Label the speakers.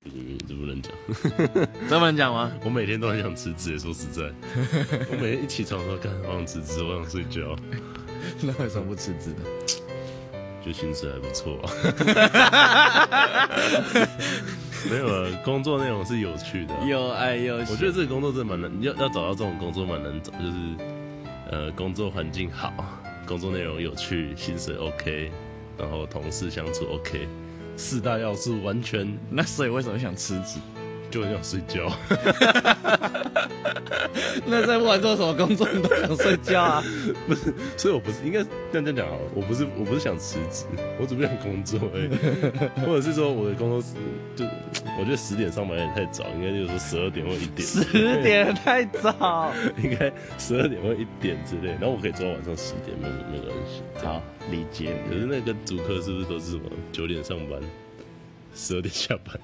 Speaker 1: 讲，
Speaker 2: 这不能讲吗？
Speaker 1: 我每天都很想辞职。说实 在，我每天一起床都干，我想辞职，我想睡觉，
Speaker 2: 那为什么不辞 职呢？
Speaker 1: 就薪水还不错、啊。没有啊，工作内容是 有趣的啊、
Speaker 2: 又爱又
Speaker 1: 我
Speaker 2: 喜
Speaker 1: 觉得这个工作真的蛮难，要要找到这种工作蛮难找，就是呃，工作环境好，工作内容有趣，薪水 OK，然后同事相处 OK，四大要素完全
Speaker 2: 那所以为什么想辞职？
Speaker 1: 就很想睡觉。
Speaker 2: 那在不管做什么工作，你都想睡觉 啊？
Speaker 1: 所以我不是应该这样这样讲好了，我不是我不是想辞职， 我只不想工作而已，或者是说我的工作是就我觉得十点上班有点太早，应该就是说十二点或一点，
Speaker 2: 十点太早。
Speaker 1: 应该十二点或一点之类，然后我可以做到晚上十点，没有没有关系。
Speaker 2: 好，理解
Speaker 1: 可
Speaker 2: 你。
Speaker 1: 是那个租客是不是都是什么九点上班，十二点下班？